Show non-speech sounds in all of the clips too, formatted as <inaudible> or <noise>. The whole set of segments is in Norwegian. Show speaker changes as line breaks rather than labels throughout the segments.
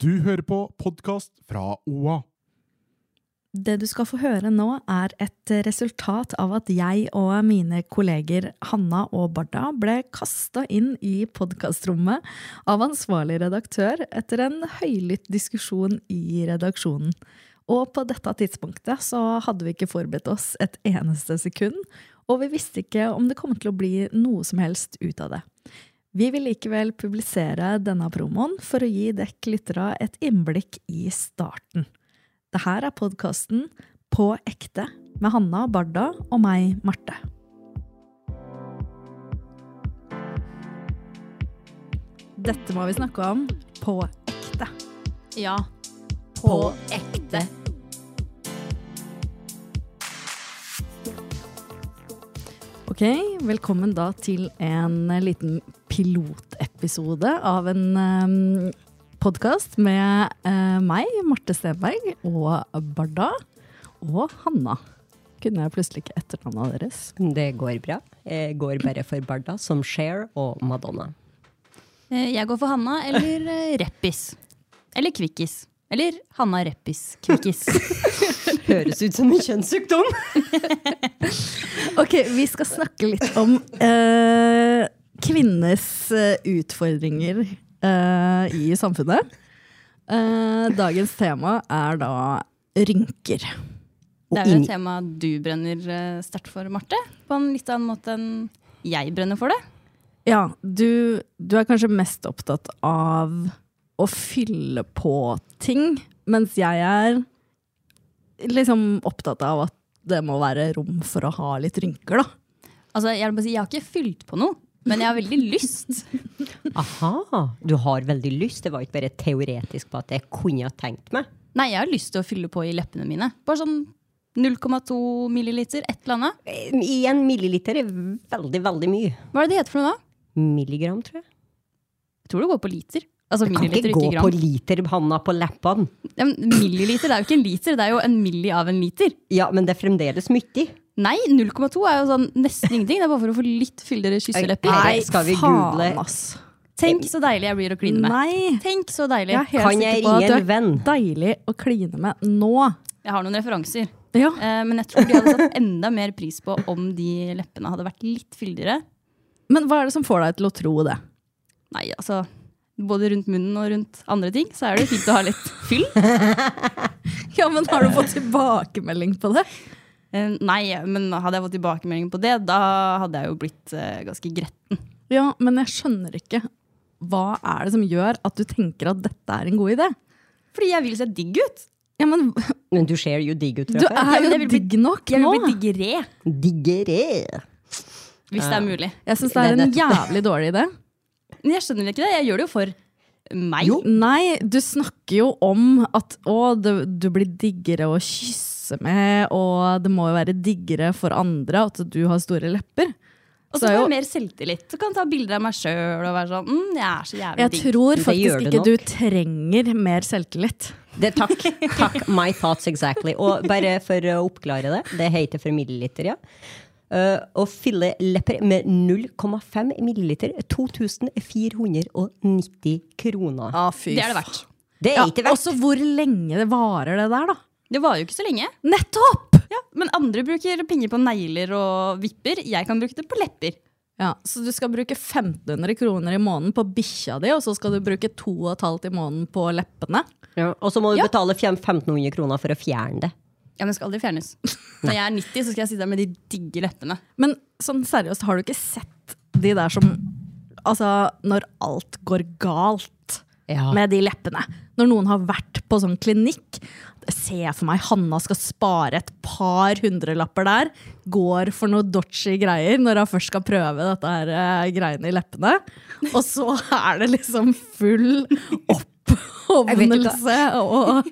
Du hører på podkast fra OA.
Det du skal få høre nå, er et resultat av at jeg og mine kolleger Hanna og Barda ble kasta inn i podkastrommet av ansvarlig redaktør etter en høylytt diskusjon i redaksjonen. Og på dette tidspunktet så hadde vi ikke forberedt oss et eneste sekund, og vi visste ikke om det kom til å bli noe som helst ut av det. Vi vil likevel publisere denne promoen for å gi dekk lyttere et innblikk i starten. Det her er podkasten På ekte med Hanna Barda og meg, Marte. Dette må vi snakke om på ekte. Ja, på ekte. Ok, velkommen da til en eh, liten pilotepisode av en um, podkast med eh, meg, Marte Stenberg, og Barda og Hanna. Kunne jeg plutselig ikke etternavna deres.
Det går bra. Jeg går bare for Barda, som Cher og Madonna.
Eh, Jeg går for Hanna eller eh, Reppis. Eller Kvikkis. Eller Hanna Reppis
<laughs>
Kvikkis.
Høres ut som en kjønnssykdom!
Ok, vi skal snakke litt om eh, kvinnes eh, utfordringer eh, i samfunnet. Eh, dagens tema er da rynker.
Det er jo et tema du brenner eh, sterkt for, Marte. På en litt annen måte enn jeg brenner for det.
Ja, du, du er kanskje mest opptatt av å fylle på ting, mens jeg er liksom opptatt av at det må være rom for å ha litt rynker, da.
Altså, Jeg vil bare si, jeg har ikke fylt på noe, men jeg har veldig
<laughs>
lyst.
Aha! Du har veldig lyst. Det var ikke bare teoretisk på at jeg kunne ha tenkt meg.
Nei, jeg har lyst til å fylle på i leppene mine. Bare sånn 0,2 milliliter, et eller annet.
Eh, Igjen, milliliter er veldig, veldig mye.
Hva er det det heter for noe da?
Milligram, tror jeg.
Jeg tror det går på liter. Altså
Kan
milliliter,
ikke gå
ikke
på
gram.
liter, Hanna, på leppene.
Ja, men Milliliter det er jo ikke en liter, det er jo en milli av en liter.
Ja, men det er fremdeles mye.
Nei, 0,2 er jo sånn nesten ingenting. Det er bare for å få litt fyldigere kysselepper.
Nei, skal vi google?
Faen, ass.
Tenk så deilig jeg blir å kline med.
Nei.
Tenk så deilig.
Jeg er helt
Kan jeg
sikker på at
ringe
du
en
er
venn?
deilig å kline med nå.
Jeg har noen referanser.
Ja.
Eh, men jeg tror de hadde satt enda mer pris på om de leppene hadde vært litt fyldigere.
Men hva er det som får deg til å tro det?
Nei, altså Både rundt munnen og rundt andre ting, så er det fint å ha litt <laughs> fyll.
Ja, men Har du fått tilbakemelding på det?
Eh, nei, men hadde jeg fått tilbakemelding på det, da hadde jeg jo blitt eh, ganske gretten.
Ja, men jeg skjønner ikke. Hva er det som gjør at du tenker at dette er en god idé?
Fordi jeg vil se digg ut.
Ja, men
Men du ser jo digg ut
Du
fra før.
er
men
jo
jeg vil bli-
digg nok
Jeg
nå.
vil bli diggere,
Diggere.
hvis det er mulig.
Jeg syns det er
Det er
en jævlig dårlig
<laughs>
idé.
Men jeg skjønner ikke det. Jeg gjør det jo for meg.
Nei, du snakker jo om at å, du, du blir diggere å kysse med, og det må jo være diggere for andre at du har store lepper.
Og
Så er
så får
jo-
jeg mer selvtillit. Så kan jeg ta bilder av meg sjøl og være sånn mm, Jeg er så jævlig
Jeg
digg.
tror
Det gjør
faktisk
det
ikke du
nok.
trenger mer selvtillit.
Det, takk. takk. My thoughts exactly. Og bare for å oppklare det, det heter for milliliter, ja. Eh, Å fylle lepper med 0,5 milliliter 2490 kroner.
Ah, fy
Det er det verdt.
Det er
Ja,
ikke verst.
Også hvor lenge det varer, det der, da.
Det varer jo ikke så lenge.
Nettopp!
Ja, men andre bruker penger på negler og vipper. Jeg kan bruke det på lepper.
Ja, Så du skal bruke 1500 kroner i måneden på bikkja di, og så skal du bruke 2500 i måneden på leppene?
Ja, Og så må du
Ja.
betale fjem- 1500 kroner for å fjerne det.
Ja, men det skal aldri <laughs> fjernes. Når jeg er 90, så skal jeg sitte der med de digge leppene.
Men sånn seriøst, har du ikke sett de der som Altså, når alt går galt
Ja.
med de leppene. Når noen har vært på sånn klinikk. Ser jeg for meg Hanna skal spare et par hundrelapper der. Går for noe dodgy greier når han først skal prøve dette her eh, greiene i leppene. Og så er det liksom full opp og Forbannelse og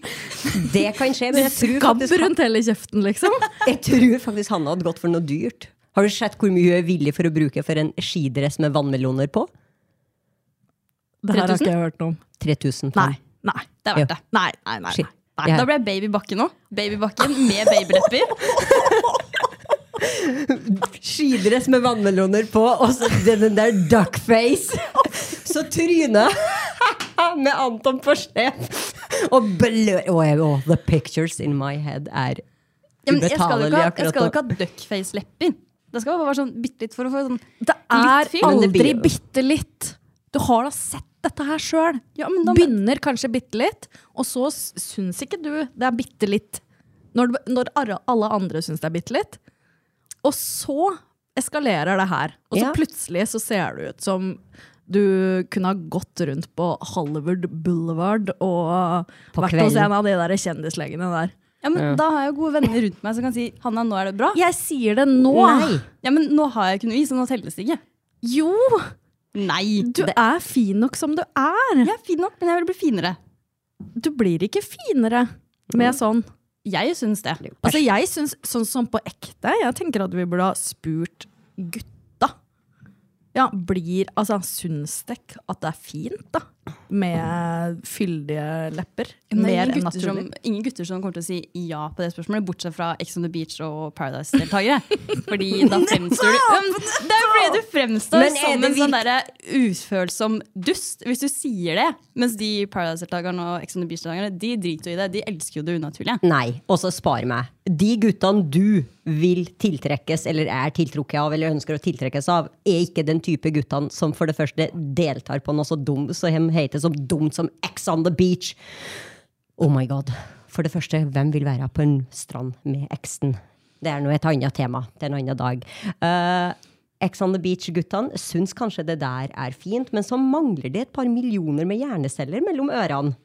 Det kan skje, men jeg tror,
skabb
faktisk,
rundt hele kjeften, liksom.
jeg tror faktisk Hanna hadde gått for noe dyrt. Har du sett hvor mye hun er villig for å bruke for en skidress med vannmeloner på?
Det her har ikke jeg hørt noe om.
3000 pund.
Nei. Nei.
Det er verdt
Jo.
det.
Nei, nei, nei.
Shit.
nei.
Ja.
Da ble jeg babybakke nå. Babybakken med babylepper.
Skidress med vannmeloner på, og så den den der duckface. Så trynet med Anton på skjev. Og blør Å, jeg- å, The pictures in my head er
Ja, men jeg skal jo ikke,
ubetalelig
ha- jeg
akkurat
skal jo
nå.
ikke ha duckface-lepper. Det skal bare være sånn bitte litt for å få sånn
<laughs> Det er
Litt fyr.
Men det blir
aldri
jo-
bitte litt. Du har da sett dette her sjøl.
Ja, men da-
Begynner kanskje bitte litt, og så s- syns ikke du det er bitte litt. Når, du- når arra- alle andre syns det er bitte litt. Og så eskalerer det her. Og så
Ja.
plutselig så ser du ut som du kunne ha gått rundt på Hollywood Boulevard og
På
vært hos
kvelden.
en av de der kjendislegene der.
Ja, men Da har jeg jo gode venner rundt meg som kan si 'Hanna, nå er det bra'.
Jeg sier det nå!
Nei.
Ja, men nå har jeg ikke noe i, så nå telles det ikke.
Jo!
Nei!
Du er fin nok som du er.
Jeg er fin nok, men jeg vil bli finere.
Du blir ikke finere med
Mm.
sånn.
Jeg syns det.
Altså jeg synes, sånn som på ekte, jeg tenker at vi burde ha spurt gutta. Ja, blir, altså syns dek at det er fint da, med fyldige lepper?
Men det er
Mer
ingen
enn
gutter, som,
naturlig.
ingen gutter som kommer til å si ja på det spørsmålet, bortsett fra Ex on the Beach og Paradise-deltakere. Fordi da fremstår du Ja, men Det er jo fordi du fremstår
Men er
som
det
en sånn
virk-
derre ufølsom dust hvis du sier det. Mens de Paradise-deltakerne og Ex on the Beach-deltakerne de driter jo i det. De elsker jo det unaturlige.
Nei, og så spar meg. De guttene du vil tiltrekkes, eller er tiltrukket av, eller ønsker å tiltrekkes av, er ikke den type guttene som for det første deltar på noe så dumt så de heter så dumt som X on the beach. Oh my god. For det første, hvem vil være på en strand med eksen? Det er nå et annet tema til en annen dag. Eh, Ex on the beach-guttene syns kanskje det der er fint, men så mangler det et par millioner med hjerneceller mellom ørene.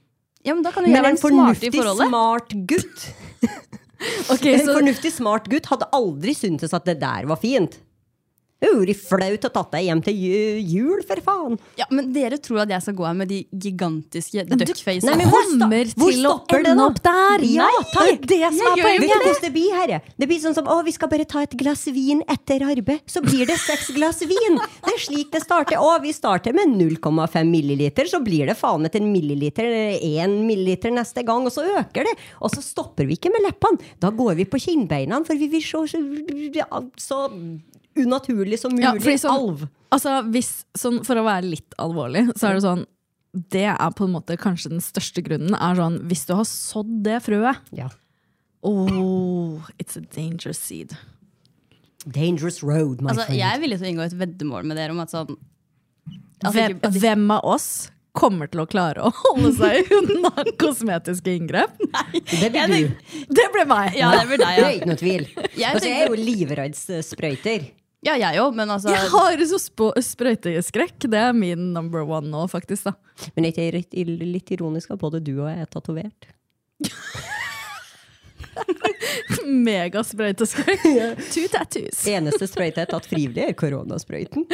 Ja, men da kan jo jeg
Men
være
en
den smarte i
fornuftig,
forholdet.
smart gutt
Ok,
en
så
fornuftig, smart gutt hadde aldri syntes at det der var fint. Det er jo flaut å tatt deg hjem til ju- jul, for faen!
Ja, Men dere tror at jeg skal gå her med de gigantiske
Nei,
duckfacene?
men hvor sta-
kommer
hvor
til å
stopper det
ende
da?
opp der.
Ja,
Nei,
takk!
det er det som
Jeg
er
gjør jo
Vet
poenget.
du hvordan det blir herre? Det blir sånn som å, vi skal bare ta et glass vin etter arbeid. Så blir det seks glass vin! Det er slik det starter. Å, vi starter med 0,5 milliliter, så blir det faen meg til en milliliter, én milliliter neste gang, og så øker det. Og så stopper vi ikke med leppene. Da går vi på kinnbeina, for vi vil se så- ja, så unaturlig som mulig.
Ja, fordi sånn-
Alv.
Altså, hvis, sånn, for å være litt alvorlig, så er det sånn Det er på en måte kanskje den største grunnen. er sånn, Hvis du har sådd det frøet
Ja.
Oh, it's a dangerous seed.
Dangerous road, my
Altså,
friend.
jeg er villig til å inngå et veddemål med dere om at sånn
Hvem, hvem av oss kommer til å klare å <laughs> holde seg unna kosmetiske inngrep?
det blir du.
Det ble meg!
Ja, det blir deg,
Det
ja.
er ikke noe tvil.
<laughs> Jeg
altså, jeg er jo livredd eh, sprøyter.
Ja, jeg òg, men altså
Jeg har så spo- sprøyteskrekk. Det er min number one nå, faktisk. da. <laughs>
Men det er litt, litt ironisk at både du og jeg er tatovert.
Megasprøyteskrekk. Two tattoos.
Eneste sprøyte jeg har tatt frivillig, er koronasprøyten.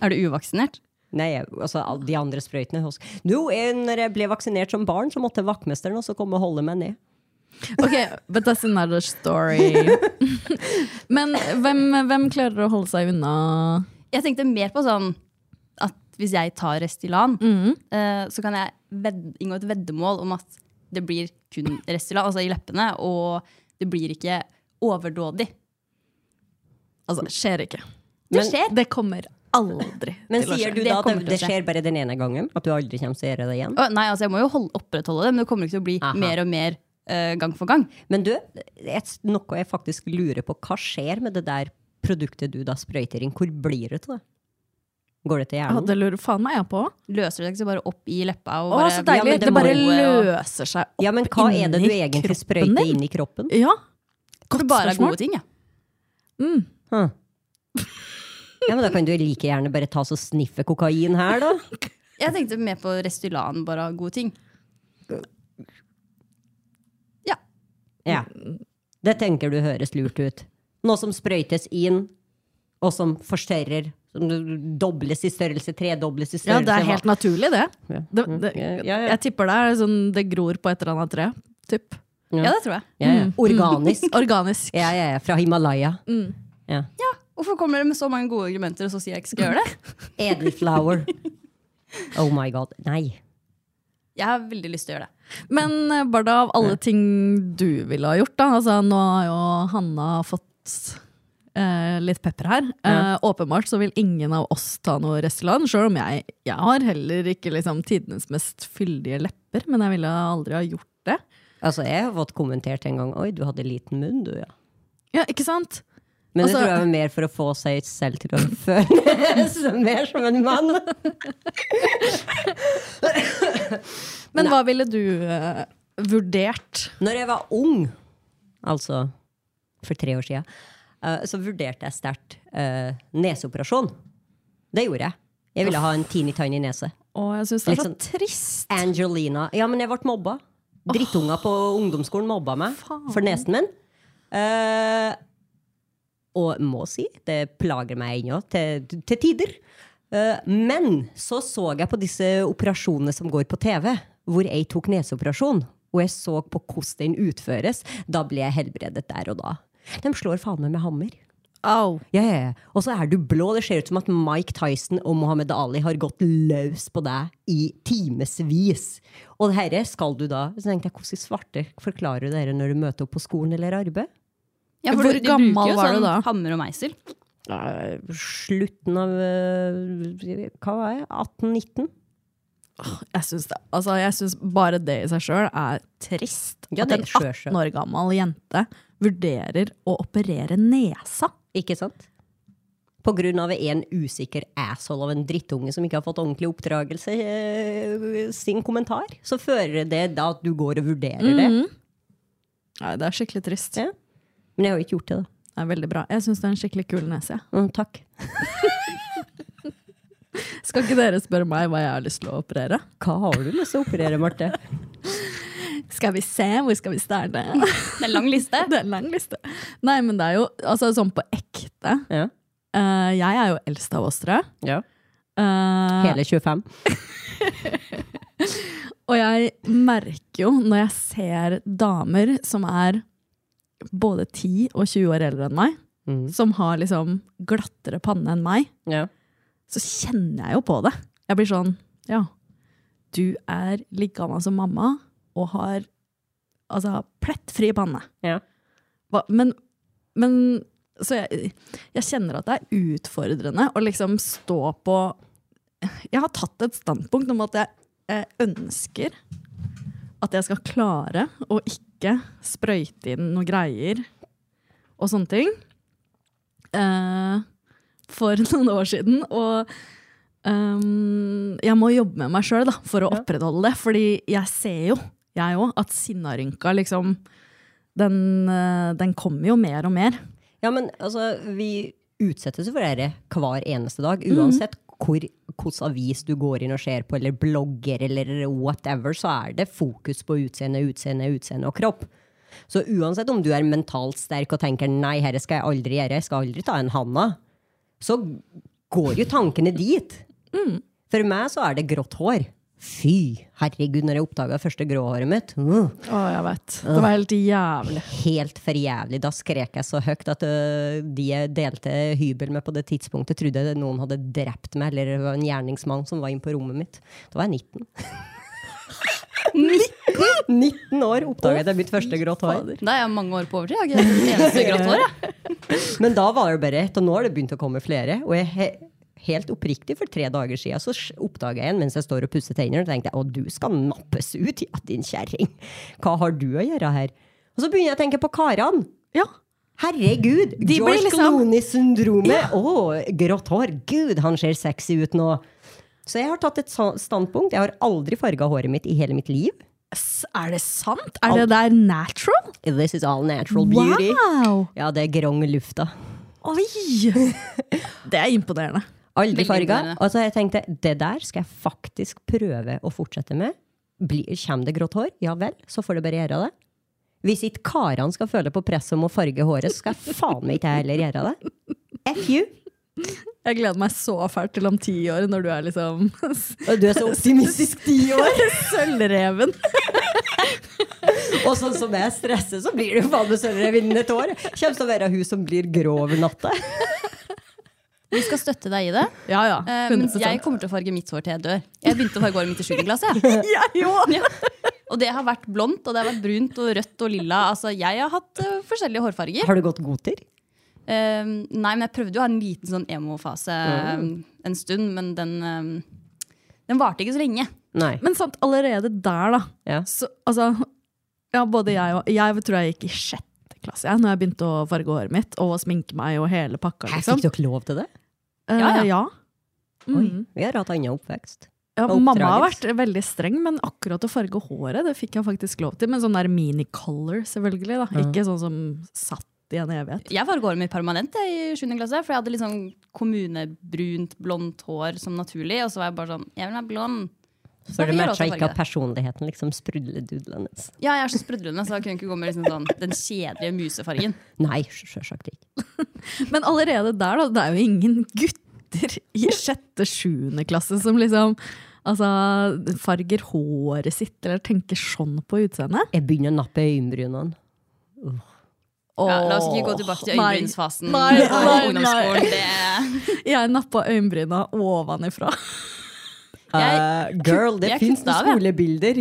Er du uvaksinert?
Nei, jeg- altså all- de andre sprøytene. hos- Nå, eh, når jeg ble vaksinert som barn, så måtte vaktmesteren også komme og holde meg ned.
Ok, but that's another story. <laughs> Men hvem, hvem klarer å holde seg unna
Jeg tenkte mer på sånn at hvis jeg tar Restylan,
Mhm.
eh, så kan jeg ved, inngå et veddemål om at det blir kun Restylan, altså i leppene, og det blir ikke overdådig.
Altså, skjer ikke.
Men-
skjer.
Det kommer aldri
Men
til å
sier
skje.
du
Det
da at
kommer
det,
til å
det skjer bare den ene gangen? At du aldri kommer til å gjøre det igjen?
Å, nei, altså jeg må jo holde, opprettholde det, men det kommer ikke til å bli
Aha.
mer og mer eh, gang for gang.
Men du, et, noe jeg faktisk lurer på. Hva skjer med det der produktet du da sprøyter inn? Hvor blir det til det? Går det til
Ja,
hjernen?
det lurer faen meg jeg på.
Løser det seg ikke bare opp i leppa og
Å,
bare
så
Ja,
deilig!
men
det,
det må
bare
jo-
løser seg opp
Ja, men hva er det du
inni
egentlig
kroppen
sprøyter
din.
inn i kroppen?
Ja,
Det
godt
bare er
spørsmål.
gode ting, ja.
Huh. Ja, men Da kan du like gjerne bare ta så sniffe kokain her, da.
Jeg tenkte mer på Restylan, bare av gode ting. Ja.
Ja. Det tenker du høres lurt ut. Noe som sprøytes inn, og som forstørrer, Som dobles i størrelse, tredobles i
Ja,
størrelse.
det er helt naturlig, det.
Ja.
det, det
Ja, ja, ja.
jeg tipper det er sånn det gror på et eller annet tre. Typ.
Ja, det tror jeg.
ja,
Mm.
ja. Organisk.
<laughs> Organisk.
Ja, ja, ja. Fra Himalaya.
Mm.
Ja.
Hvorfor kommer dere med så mange gode argumenter, og så sier jeg ikke skal
<laughs>
gjøre det?
Edelflower. Oh my god. Nei.
Jeg har veldig lyst til å gjøre det.
Men eh, Barda, av alle ting du ville ha gjort, da altså, Nå har jo Hanna fått eh, litt pepper her. Eh, åpenbart så vil ingen av oss ta noe Restaurant, sjøl om jeg, jeg har heller ikke liksom, tidenes mest fyldige lepper. Men jeg ville aldri ha gjort det.
Altså, jeg har fått kommentert en gang Oi, du hadde liten munn, du, ja.
Ja, ikke sant?
Men
Altså-
det tror jeg var mer for å få seg selv til å føle seg <laughs> mer som en mann.
Men hva ville du eh, vurdert?
Når jeg var ung, altså for tre år siden, eh, så vurderte jeg sterkt eh, neseoperasjon. Det gjorde jeg. Jeg ville ha en teeny tiny nese.
Og jeg syns det er
Litt
så
sånn-
trist.
Angelina. Ja, men jeg ble mobba. Drittunga på ungdomsskolen mobba meg for nesen min. Eh, og må si, det plager meg ennå, til, til tider. Eh, men så så jeg på disse operasjonene som går på TV, hvor jeg tok neseoperasjon, og jeg så på hvordan den utføres. Da ble jeg helbredet der og da. De slår faen meg med hammer.
Au.
Ja, ja, ja. Og så er du blå. Det ser ut som at Mike Tyson og Mohammed Ali har gått løs på deg i timevis. Og herre, skal du da Så tenkte jeg, hvordan i svarte forklarer du dere når du møter opp på skolen eller arbeid?
Ja, for
Hvor
du- de
gammel
bruker jo
var du
sånn
da?
Hammer og meisel.
Eh, Slutten av eh, Hva var jeg? 18-19?
Jeg syns det. Altså, jeg syns bare det i seg sjøl er trist.
Ja,
At
det
en
er sjø, sjø.
18 år gammel jente vurderer å operere nesa.
Ikke sant? På grunn av en usikker asshole av en drittunge som ikke har fått ordentlig oppdragelse, eh, sin kommentar, så fører det da at du går og vurderer det.
Nei, det er skikkelig trist.
Ja. Men jeg har jo ikke gjort det, da.
Det er veldig bra. Jeg syns det er en skikkelig kul nese. jeg.
Mm, takk.
Skal ikke dere spørre meg hva jeg har lyst til å operere?
Hva har du lyst til å operere, Marte?
Skal vi se, hvor skal vi starte? <laughs>
<laughs> Det er en lang liste.
Det er en lang liste. Nei, men det er jo altså, sånn på ekte.
Ja.
Eh, jeg er jo eldst av oss tre. Eh,
Hele 25.
Og jeg merker jo når jeg ser damer som er både 10 og 20 år eldre enn meg, som har liksom glattere panne enn meg,
Ja.
så kjenner jeg jo på det. Jeg blir sånn Ja, du er like gammel som mamma og har altså plettfri panne.
Ja.
Hva- Men, men Så jeg, jeg kjenner at det er utfordrende å liksom stå på Jeg har tatt et standpunkt om at jeg eh, ønsker at jeg skal klare å ikke sprøyte inn noen greier og sånne ting. Eh, for <laughs> noen år siden. Og ehm, jeg må jobbe med meg sjøl for å opprettholde det. Fordi jeg ser jo, jeg òg, at sinnarynka liksom den, eh, den kommer jo mer og mer.
ja, men altså, vi utsettes jo for dette hver eneste dag. Uansett hvor hvilken avis du går inn og ser på, eller blogger, eller whatever, så er det fokus på utseende, utseende, utseende og kropp. Så uansett om du er mentalt sterk og tenker nei, herre skal jeg aldri gjøre, jeg skal aldri ta en Hanna, så går jo tankene dit. For meg så er det grått hår. Fy, herregud, når jeg oppdaga første gråhåret mitt. Uh.
Å, jeg vet. Det var helt jævlig.
helt for jævlig. Da skrek jeg så høyt at ø, de jeg delte hybel med på det tidspunktet, trodde jeg noen hadde drept meg, eller det var en gjerningsmann som var inne på rommet mitt. Da var jeg 19. 19, 19 år oppdaget jeg mitt første grått hår.
Da er jeg mange år på overtid. Jeg har ikke et eneste grått hår. Jeg.
Men da var det bare ett, og nå har det begynt å komme flere. Og jeg he helt oppriktig, for tre dager siden så oppdaga jeg en mens jeg står og pusser tenner, og tenkte jeg, å, du skal nappes ut, ja, din kjerring. Hva har du å gjøre her? Og så begynner jeg å tenke på karene.
Ja.
Herregud!
blir
George
liksom-
Clooney-syndromet! Å, grått hår! Gud, han ser sexy ut nå! Så jeg har tatt et sa- standpunkt. Jeg har aldri farga håret mitt i hele mitt liv.
S- Er det sant? Er det der natural?
This is all natural beauty.
Wow!
Ja, det er grong lufta.
<laughs> Oi! Det er imponerende.
Aldri
Veldig
farga.
imponerende.
Og så jeg tenkte det der skal jeg faktisk prøve å fortsette med. Blir, kommer det grått hår, ja vel, så får det bare gjøre det. Hvis ikke karene
<laughs>
skal føle på presset om å farge håret, så skal jeg faen meg ikke jeg heller gjøre det. F you!
Jeg gleder meg så fælt til om ti år, når du er liksom <laughs>
Og du er så optimistisk ti år!
sølvreven.
Og sånn som jeg stresser, så blir det jo faen meg sølvrev innen et år. Kommer til å være hun som blir grå over natta.
Vi skal støtte deg i det.
Ja, ja.
Eh, men
100
jeg kommer til å farge mitt hår til jeg dør. Jeg begynte å farge håret mitt i 7. klasse. <laughs> jeg.
Jeg <laughs> òg!
Ja. Og det har vært blondt, og det har vært brunt og rødt og lilla. Altså, jeg har hatt eh, forskjellige hårfarger.
Har du gått god til?
Eh, nei, men jeg prøvde jo å ha en liten sånn emo-fase eh, en stund, men den, eh, den varte ikke så lenge.
Nei.
Men sant, allerede der, da.
Ja.
Så, altså, ja, både jeg og Jeg tror jeg gikk i sjette klasse jeg, når jeg begynte å farge håret mitt og sminke meg og hele pakka.
Her
sånn.
liksom.
fikk dere lov til det?
Eh,
Ja, ja.
ja.
Oi,
Mm.
vi har hatt annen oppvekst.
Ja,
Og
mamma har vært
oppdraget.
veldig streng, men akkurat å farge håret det fikk jeg faktisk lov til. Men sånn der mini-color, selvfølgelig. da. Ikke sånn som satt i en evighet.
Jeg farget håret mitt permanent jeg, i 7. klasse, for jeg hadde litt sånn kommunebrunt, blondt hår som naturlig. Og så var jeg bare sånn Jeg vil ha blond. Så
For det
da fikk jeg lov
matcha
til å
ikke
farge
av
det.
personligheten, liksom sprudledudelen hennes.
Ja, jeg er så sprudlende, så jeg kunne ikke gå med liksom sånn, den kjedelige musefargen.
Nei, sjølsagt ikke.
Men allerede der, da, det er jo ingen <laughs> gutter i sjette, sjuende klasse som liksom altså, farger håret sitt eller tenker sånn på utseendet.
Jeg begynner å nappe øyenbrynene.
Ja, la oss ikke gå tilbake til
Åh, nei.
øyenbrynsfasen
Nei,
på
nei,
ungdomsskolen. Det,
Jeg nappa øyenbryna ovenifra. <laughs>
Jeg-
Eh, girl, det
jeg
fins noen
kutta av, jeg.
skolebilder!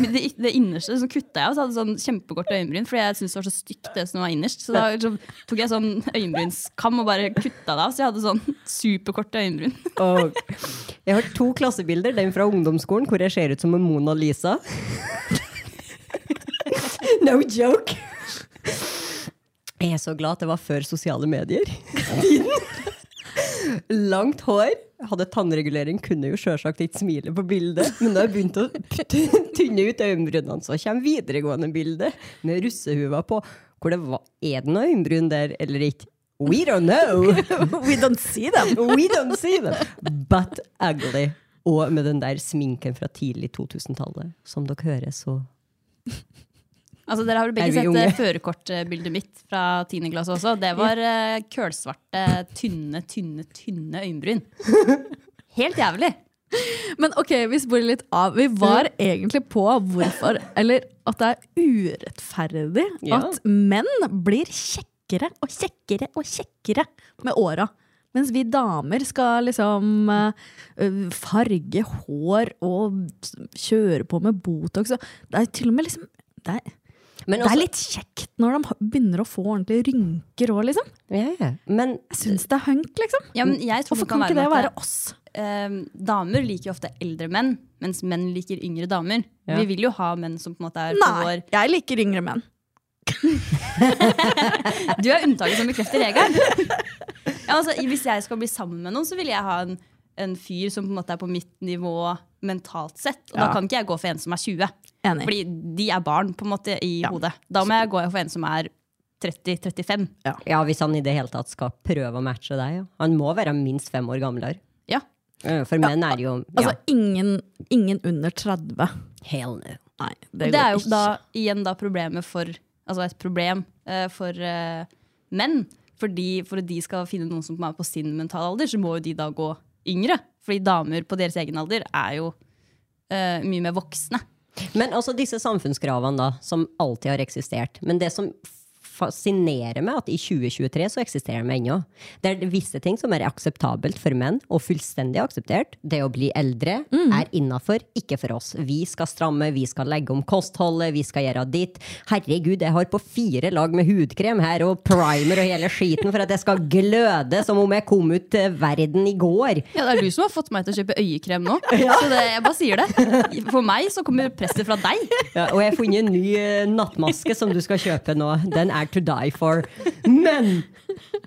men det, det innerste så kutta jeg og så hadde jeg sånn kjempekort øyenbryn, fordi jeg syntes det var så stygt det som var innerst. Så da så tok jeg sånn øyenbrynskam og bare kutta det av, så jeg hadde sånn superkorte øyenbryn.
Og jeg har to klassebilder. Den fra ungdomsskolen hvor jeg ser ut som en Mona Lisa. No joke! Jeg er så glad at det var før sosiale medier. Tiden. Langt hår. Hadde tannregulering, kunne jo sjølsagt ikke smile på bildet. Men da jeg begynte å t- tynne ut øyenbrynene, så kommer videregående bilde med russehuva på. Hvor det var, Er det noe øyenbryn der eller ikke? We don't know!
We don't see them!
We don't see them. But ugly. Og med den der sminken fra tidlig 2000-tallet, som dere hører, så
Altså, dere har vel
Er
begge
vi
sett
unge?
eh, førerkortbildet mitt fra 10. klasse også. Det var eh, kølsvarte, tynne, tynne, tynne øyenbryn. Helt jævlig.
Men ok, vi sporer litt av. Vi var egentlig på hvorfor Eller at det er urettferdig
Ja.
at menn blir kjekkere og kjekkere og kjekkere med åra. Mens vi damer skal liksom eh, farge hår og kjøre på med Botox. og Det er til og med liksom det er,
Men
det
også-
er litt kjekt når de begynner å få ordentlige rynker òg, liksom.
Ja, ja. Men
Jeg syns det er hunk, liksom.
Ja, men jeg
Hvorfor
tror det kan
kan ikke det
med at
være oss?
eh, damer liker jo ofte eldre menn, mens menn liker yngre damer. Vi vil jo ha menn som på en måte er på
Nei,
vår
jeg liker yngre menn.
Du er unntaket som bekrefter regelen. Ja, altså, hvis jeg skal bli sammen med noen, så vil jeg ha en, en fyr som på en måte er på mitt nivå mentalt sett. Og da
Ja.
kan ikke jeg gå for en som er 20.
Enig.
Fordi de er barn på en måte i
Ja.
hodet. Da må jeg gå for en som er 30-35.
ja, hvis han i det hele tatt skal prøve å matche deg, ja. han må være minst fem år gamlere.
Ja.
Eh, For menn er jo ja,
Altså ingen, ingen under 30.
Hell no.
Nei,
Det, det er jo da igjen da problemet for Altså et problem eh, for eh, menn. Fordi For at de skal finne noen som er på sin mentale alder, så må jo de da gå yngre. Fordi damer på deres egen alder er jo eh, mye mer voksne.
Men altså disse samfunnskravene da, som alltid har eksistert. Men det som fascinerer meg, at i 2023 så eksisterer de ennå. Det er visse ting som er akseptabelt for menn, og fullstendig akseptert. Det å bli eldre er innafor, ikke for oss. Vi skal stramme, vi skal legge om kostholdet, vi skal gjøre ditt. Herregud, jeg har på fire lag med hudkrem her, og primer og hele skiten, for at jeg skal gløde som om jeg kom ut til verden i går.
Ja, Det er du som har fått meg til å kjøpe øyekrem nå. <laughs> Så det, jeg bare sier det. For meg så kommer presset fra deg.
Ja, og jeg har funnet en ny eh, nattmaske som du skal kjøpe nå. Den er to die for. Men!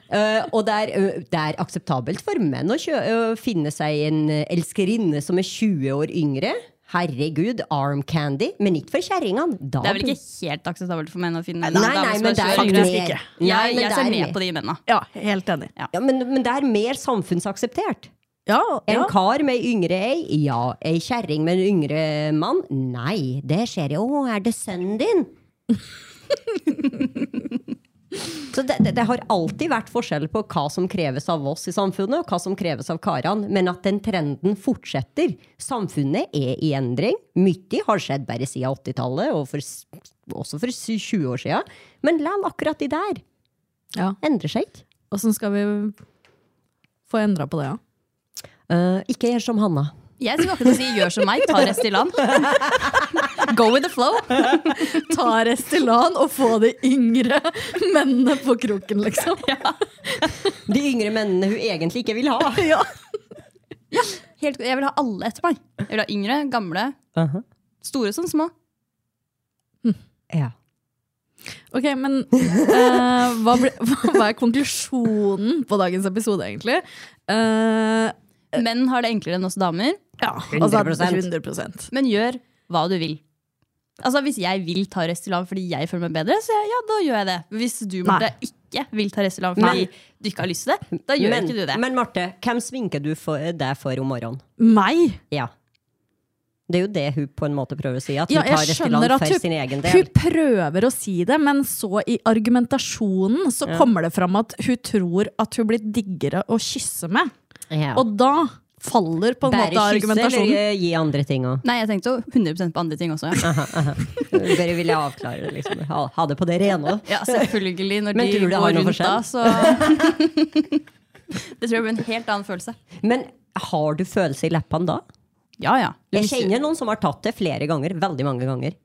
eh, og det er, eh, det er akseptabelt for menn å kjø eh, finne seg en eh, elskerinne som er 20 år yngre. Herregud, arm candy. Men ikke for kjerringene. Da-
Det er vel ikke helt akseptabelt for menn å finne en
Nei,
dame
nei,
som
men
er
det er
20 år
mer.
yngre.
Ikke. Nei, men
Jeg, jeg
det er
ser ned
mer.
på de mennene.
Ja, helt enig.
Ja, men, men det er mer samfunnsakseptert.
Ja,
En
ja.
kar med yngre ei? Ja. Ei kjerring med en yngre mann? <laughs> Nei. Det skjer jo. Å, er det sønnen din? Så det, det, det har alltid vært forskjell på hva som kreves av oss i samfunnet, og hva som kreves av karene, men at den trenden fortsetter. Samfunnet er i endring. Mye har skjedd bare siden 80-tallet, og for, s- også for sy- 20 år siden. Men lell akkurat de der
Ja.
endrer seg ikke.
Åssen skal vi få endra på det, ja?
Eh, ikke gjør som Hanna.
Jeg skulle akkurat si gjør som meg, ta Restylane.
<laughs>
Go with the flow.
Ta Restylane og få de yngre mennene på kroken, liksom.
De yngre mennene hun egentlig ikke vil <laughs> ha.
Helt, jeg vil ha alle etter meg. Jeg vil ha yngre, gamle,
Aha.
store som små.
Ja.
Ok, men eh, hva, ble, <laughs> hva er konklusjonen på dagens episode, egentlig? Eh,
Menn har det enklere enn oss damer,
ja, altså
100%.
100
men gjør hva du vil. Altså Hvis jeg vil ta Restylane fordi jeg føler meg bedre, så ja, da gjør jeg det. Hvis du Marte, ikke vil ta Restylane fordi du ikke har lyst til det, da gjør
men,
ikke du det.
men Marte, hvem sminker du for, deg for om morgenen?
Meg?
Ja. Det er jo det hun på en måte prøver å si. At hun
Ja,
tar
jeg skjønner
Restylane
at
for sin egen
hun,
del.
hun prøver å si det, men så i argumentasjonen så kommer det fram at hun tror at hun blir diggere å kysse med.
Ja.
Og da faller på en
Bare
måte
kysse eller
argumentasjonen.
eh, gi andre ting òg?
Nei, jeg tenkte jo 100 på andre ting også. Ja,
Bare ville avklare det. Liksom. Ha, ha det på det rene.
ja selvfølgelig. Når
Men
de
tror du det har
går
noe
rundt da, så Det tror jeg blir en helt annen følelse.
Men har du følelse i leppene da?
Ja, ja.
Jeg kjenner noen som har tatt det flere ganger. Veldig mange ganger.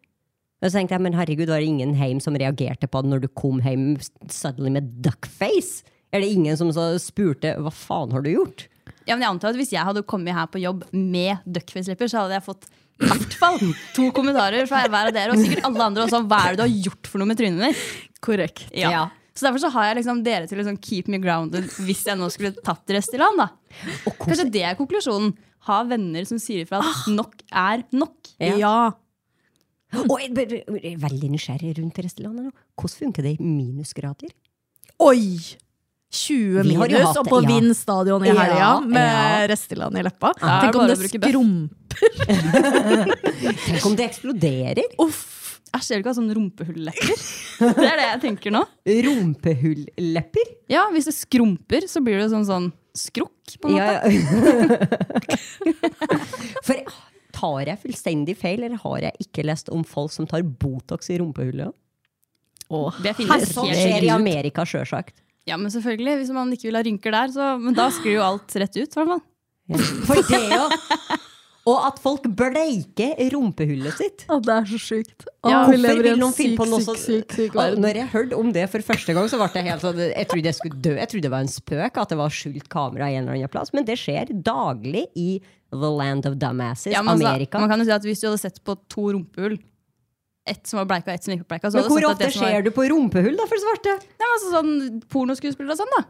Og så tenkte jeg, men herregud, var det ingen hjem som reagerte på det når du kom hjem suddenly med duckface? Er det ingen som så spurte hva faen har du gjort?
Ja, men jeg antar at Hvis jeg hadde kommet her på jobb med duckface-lepper, så hadde jeg fått i hvert fall to kommentarer fra hver av dere, og sikkert alle andre også. om Hva er det du har gjort for noe med trynet ditt?
Korrekt.
Ja. Så derfor så har jeg liksom dere til å liksom keep me grounded hvis jeg nå skulle tatt Restylane. da. Kanskje det er konklusjonen. Ha venner som sier ifra at nok er nok.
Ah. Ja.
Ja.
Og jeg ble- ble- ble veldig nysgjerrig rundt Restelandet nå. Hvordan funker det i minusgrader?
Oi! 20
Vi har jo
minus
hatt
og
det,
på
ja.
Vind stadion i helga
Ja,
med
ja.
Restylane i leppa.
Ja,
Tenk om
bare
det
å bruke bøff.
skrumper.
Tenk om det eksploderer?
Uff. Æsj, jeg vil ikke ha sånn rumpehullepper. Det er det jeg tenker nå.
Rumpehullepper?
Ja, Hvis det skrumper, så blir det sånn sånn skrukk. på en måte.
Ja, ja. <laughs> For ah, tar jeg fullstendig feil, eller har jeg ikke lest om folk som tar Botox i rumpehullet?
Det finnes
Sånn skjer
helt
i
sikkert.
Amerika, sjølsagt.
Ja, men selvfølgelig. Hvis man ikke vil ha rynker der, så Men da sklir jo alt rett ut, i hvert fall.
For det <laughs> jo Og at folk bleiker rumpehullet sitt.
det er så sjukt.
Hvorfor vil noen finne på noe sånt? Og Når jeg hørte om det for første gang, så ble jeg helt sånn Jeg trodde jeg skulle dø. Jeg trodde det var en spøk, at det var skjult kamera i en eller annen plass. Men det skjer daglig i the land of dumbasses,
Ja, men altså,
Amerika.
man kan jo si at Hvis du hadde sett på to rumpehull, ett som var bleika og ett som ikke var bleika så
Men
hadde du
hvor
sett at
ofte
det som var,
ser du på rumpehull, da, for svarte?
Nei, men altså sånn Pornoskuespillere og sånn, da.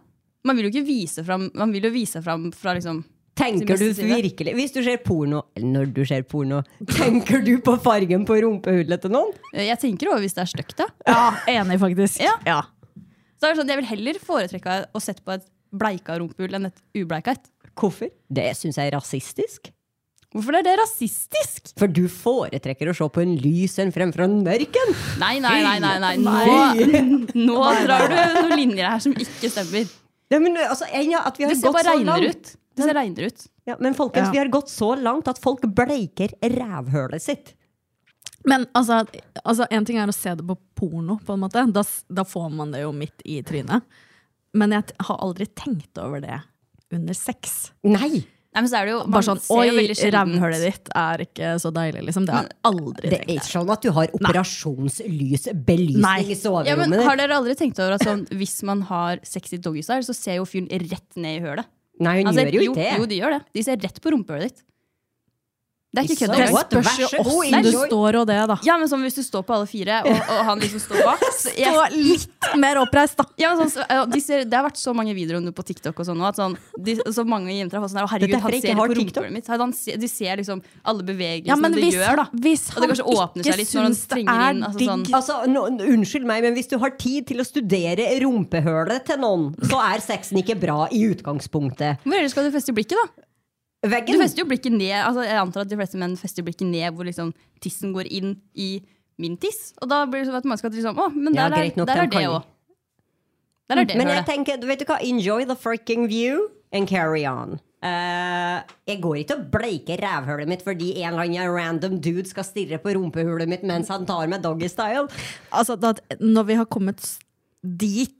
Man vil jo ikke vise fram Man vil jo vise fram fra liksom
Tenker du
Sin beste side.
virkelig Hvis du ser porno, eller når du ser porno, <laughs> tenker du på fargen på rumpehullet til noen?
Jeg tenker over hvis det er stygt, da.
Ja, enig, faktisk.
Ja.
Ja.
Så er det sånn, Jeg vil heller foretrekke å sette på et bleika rumpehull enn et ubleika et.
Hvorfor? Det syns jeg er rasistisk.
Hvorfor er det rasistisk?
For du foretrekker å se på en lys enn fremfor en mørk en!
Nei, nei, nei. nei, nei. Nå, nå drar du noen linjer her som ikke stemmer.
Ja, men, altså, en, ja, at vi har
Det ser
gått
bare
så
regner
langt.
ut. Det ser regner ut.
Ja, men folkens,
Ja.
vi har gått så langt at folk bleiker rævhølet sitt.
Men altså, altså, en ting er å se det på porno, på en måte. Da, s- da får man det jo midt i trynet. Men jeg t- har aldri tenkt over det under sex.
Nei!
Nei, men så er det jo, man
Bare sånn
ser jo
Oi,
veldig sjelden-
rævhølet ditt er ikke så deilig, liksom. Det har jeg aldri
Det er
tenkt.
ikke sånn at du har operasjonslysbelysning
Nei.
i
Ja, men
soverommet.
Har dere aldri tenkt over at sånn, hvis man har sex i doggystyle, så ser jo fyren rett ned i hølet?
Nei, hun
Altså,
gjør jo ikke det.
Jo, de gjør det. De ser rett på rumpehullet ditt. Det er ikke
Iså,
kødd engang.
what? Vær så god,
Men du
enjoy.
står og det, da.
Ja, men sånn, hvis du står på alle fire, og, og han liksom står bak så jeg,
Stå litt mer oppreist, da.
ja, men sånn, så, ja, de ser, Det har vært så mange videoer om det på TikTok og sånn nå, at sånn, de, så mange jenter har fått sånn her,
Det
«Å,
er
herregud,
derfor
han
jeg ikke
ser
har
på
TikTok.
rumpehullet mitt. Sånn, Han ser, de ser liksom alle bevegelsene
Ja, men
det
hvis,
gjør, da.
hvis
Og det
han
kanskje åpner seg
ikke
litt når han
syns det
trenger
er
inn, altså
digg
sånn-
Altså, nå, unnskyld meg, men hvis du har tid til å studere rumpehølet til noen, så er sexen ikke bra i utgangspunktet.
Hvor ellers skal du feste blikket, da? Du
Veggen
fester jo blikket ned altså Jeg antar at de fleste menn fester blikket ned hvor liksom tissen går inn i min tiss. Og da blir det sånn at man skal liksom, å, men
Ja,
der,
greit
er,
nok,
der
den
er det
kan-
òg. Der er det
Men jeg
hølet.
tenker, vet du hva, enjoy the freaking view and carry on. Eh, jeg går ikke og bleiker rævhølet mitt fordi en eller annen random dude skal stirre på rumpehulet mitt mens han tar med doggystyle.
Altså, da, når vi har kommet s- dit,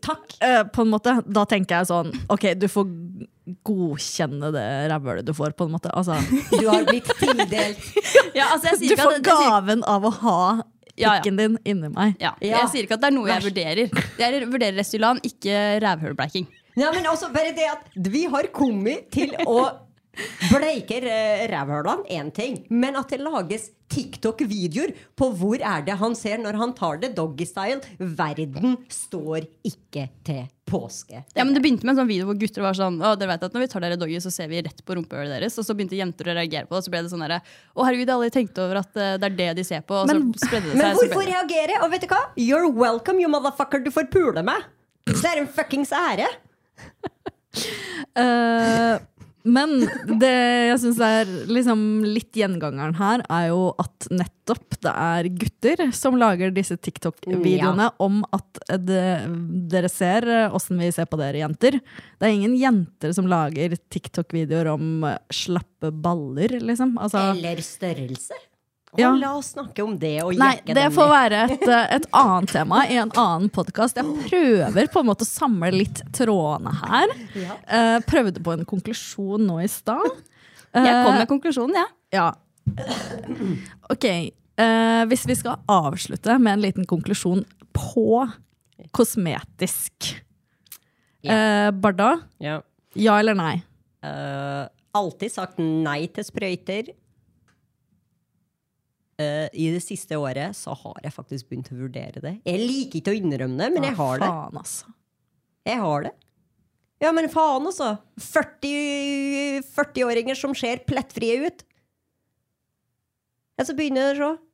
Takk.
eh, på en måte, da tenker jeg sånn Ok, du får godkjenne det rævhølet du får, på en måte.
<laughs>
Altså,
Du har blitt tildelt
Ja, altså, jeg sier
du
ikke at
får
det- det sier-
gaven av å ha
Ja, ja.
pikken din inni meg.
Ja.
Ja.
Jeg sier ikke at det er noe jeg vurderer. Jeg vurderer Restylan, ikke rævhølbleiking.
Ja, men også bare det at vi har kommet til å bleike eh, rævhølene, én ting, men at det lages TikTok-videoer på hvor er det han ser når han tar det doggystyle. Verden står ikke til påske.
Ja, men Det begynte med en sånn video hvor gutter var sånn Å, dere vet at når vi tar dere doggy, så ser vi rett på rumpehullet deres. Og så begynte jenter å reagere på det. Og så ble det sånn derre Å, herregud, jeg har aldri tenkt over at eh, det er det de ser på. Og
Men-
så spredde det seg.
Men
så ble
hvorfor
det-
reagere? Og vet du hva? You're welcome, you motherfucker. Du får pule meg. Det er en fuckings ære.
Eh, men det jeg syns er liksom litt gjengangeren her, er jo at nettopp det er gutter som lager disse TikTok-videoene om at det, dere ser eh, åssen vi ser på dere, jenter. Det er ingen jenter som lager TikTok-videoer om eh, slappe baller, liksom. Altså,
Eller størrelse. Og
Ja.
La oss snakke om det og
Nei,
jekke
det
dem
får
litt.
være et, eh, et annet tema i en annen podkast. Jeg prøver på en måte å samle litt trådene her. Eh, prøvde på en konklusjon nå i stad. Eh,
Jeg kom med konklusjonen, jeg.
Ja. Ok, eh, hvis vi skal avslutte med en liten konklusjon på kosmetisk. Eh, Barda,
Ja.
ja eller nei?
Eh, alltid sagt nei til sprøyter. Eh, I det siste året så har jeg faktisk begynt å vurdere det. Jeg liker ikke å innrømme det, men jeg har det.
Faen, altså.
Jeg har det. Ja, men faen, altså. 40 40-åringer som ser plettfrie ut. Ja, så begynner jeg å se.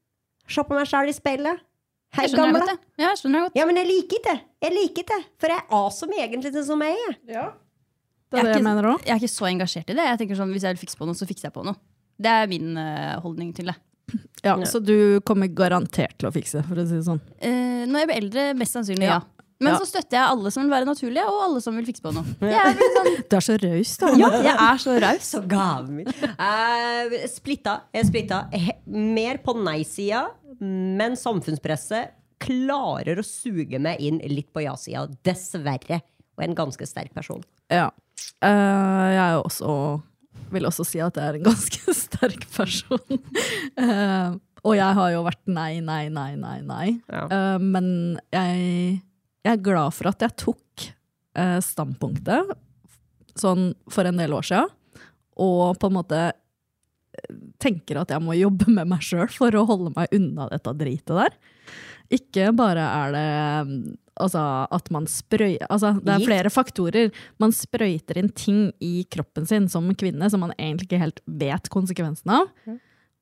Se på meg sjæl i speilet. Hei,
Jeg skjønner det
gamle.
godt. jeg. Ja, jeg skjønner det godt.
Ja, men jeg liker ikke det. Jeg liker ikke det. For jeg er awesome egentlig sånn som jeg er.
Det er det jeg
ikke-
mener òg.
Jeg er ikke så engasjert i det. Jeg tenker sånn, Hvis jeg vil fikse på noe, så fikser jeg på noe. Det er min eh, holdning til det.
Ja, så du kommer garantert til å fikse, for å si det sånn.
Eh, når jeg blir eldre, mest sannsynlig ja. Men
Ja.
så støtter jeg alle som vil være naturlige, og alle som vil fikse på noe. Jeg er litt sånn,
Du er så raus, da.
<laughs> ja, jeg er så raus.
Så gaven min. Eh, splitta. Jeg er splitta. He- Mer på nei-sida, men samfunnspresset klarer å suge meg inn litt på ja-sida. Dessverre. Og en ganske sterk person.
Ja. Eh, jeg er jo også vil også si at jeg er en <laughs> ganske sterk person. Eh, og jeg har jo vært nei, nei, nei, nei, nei. Eh, men jeg, jeg er glad for at jeg tok eh, standpunktet sånn for en del år siden, og på en måte eh, tenker at jeg må jobbe med meg sjøl for å holde meg unna dette dritet der. Ikke bare er det mm, altså, at man sprøy... Altså, det er
Gift?
flere faktorer. Man sprøyter inn ting i kroppen sin som kvinne som man egentlig ikke helt vet konsekvensen av.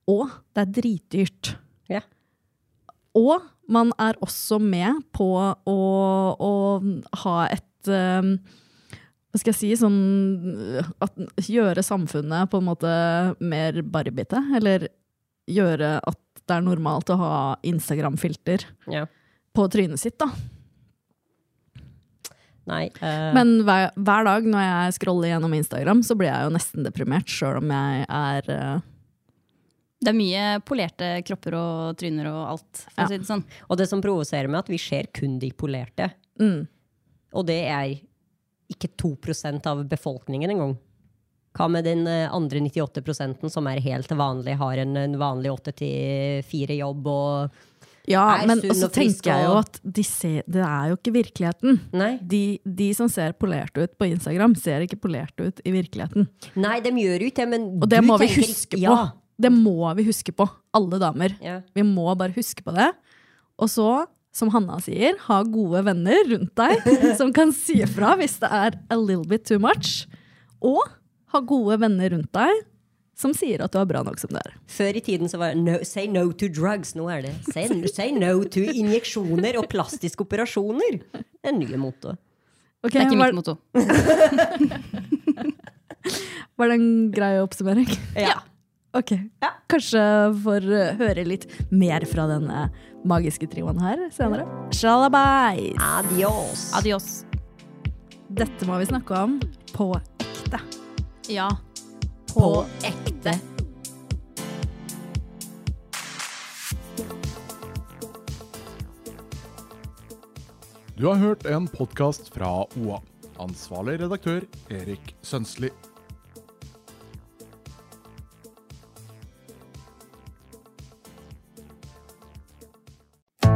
Og det er dritdyrt.
Ja.
Og man er også med på å, å ha et eh, hva skal jeg si, sånn øh, at Gjøre samfunnet på en måte mer barbite, eller gjøre at det er normalt å ha Instagram-filter på trynet sitt, da.
Nei. eh,
Men hver, hver dag når jeg scroller gjennom Instagram, så blir jeg jo nesten deprimert, sjøl om jeg er øh,
Det er mye polerte kropper og tryner og alt. For
Ja.
å si det sånn.
og det som provoserer meg, er at vi ser kun de polerte.
Mm.
Og det er ikke 2 av befolkningen engang. Hva med den eh, andre 98 som er helt vanlig, har en, en vanlig 8-4-jobb og
Ja,
Er
men
sunn
så
og frisk
tenker jeg jo
og-
at de ser, det er jo ikke virkeligheten.
Nei.
De, de som ser polerte ut på Instagram, ser ikke polerte ut i virkeligheten.
Nei, de gjør jo ikke det, men
Og det
du
må vi
tenker-
huske på.
Ja.
Det må vi huske på, alle damer.
Ja.
Vi må bare huske på det. Og så, som Hanna sier, ha gode venner
<laughs>
rundt deg som kan si ifra hvis det er a little bit too much. Og ha gode venner rundt deg som sier at du er bra nok som du er.
Før i tiden så var det no, say no to drugs. Nå er det say, say no to injeksjoner og plastiske operasjoner. En ny motto.
Ok,
Det er ikke
var,
mitt motto.
var det en grei oppsummering?
Ja.
Ok. Kanskje får eh, høre litt mer fra denne magiske trioen her senere. Shalabais!
Adios.
Adios.
Dette må vi snakke om på ekte.
Ja.
På ekte.
Du har hørt en podkast fra OA. Ansvarlig redaktør Erik Sønsli.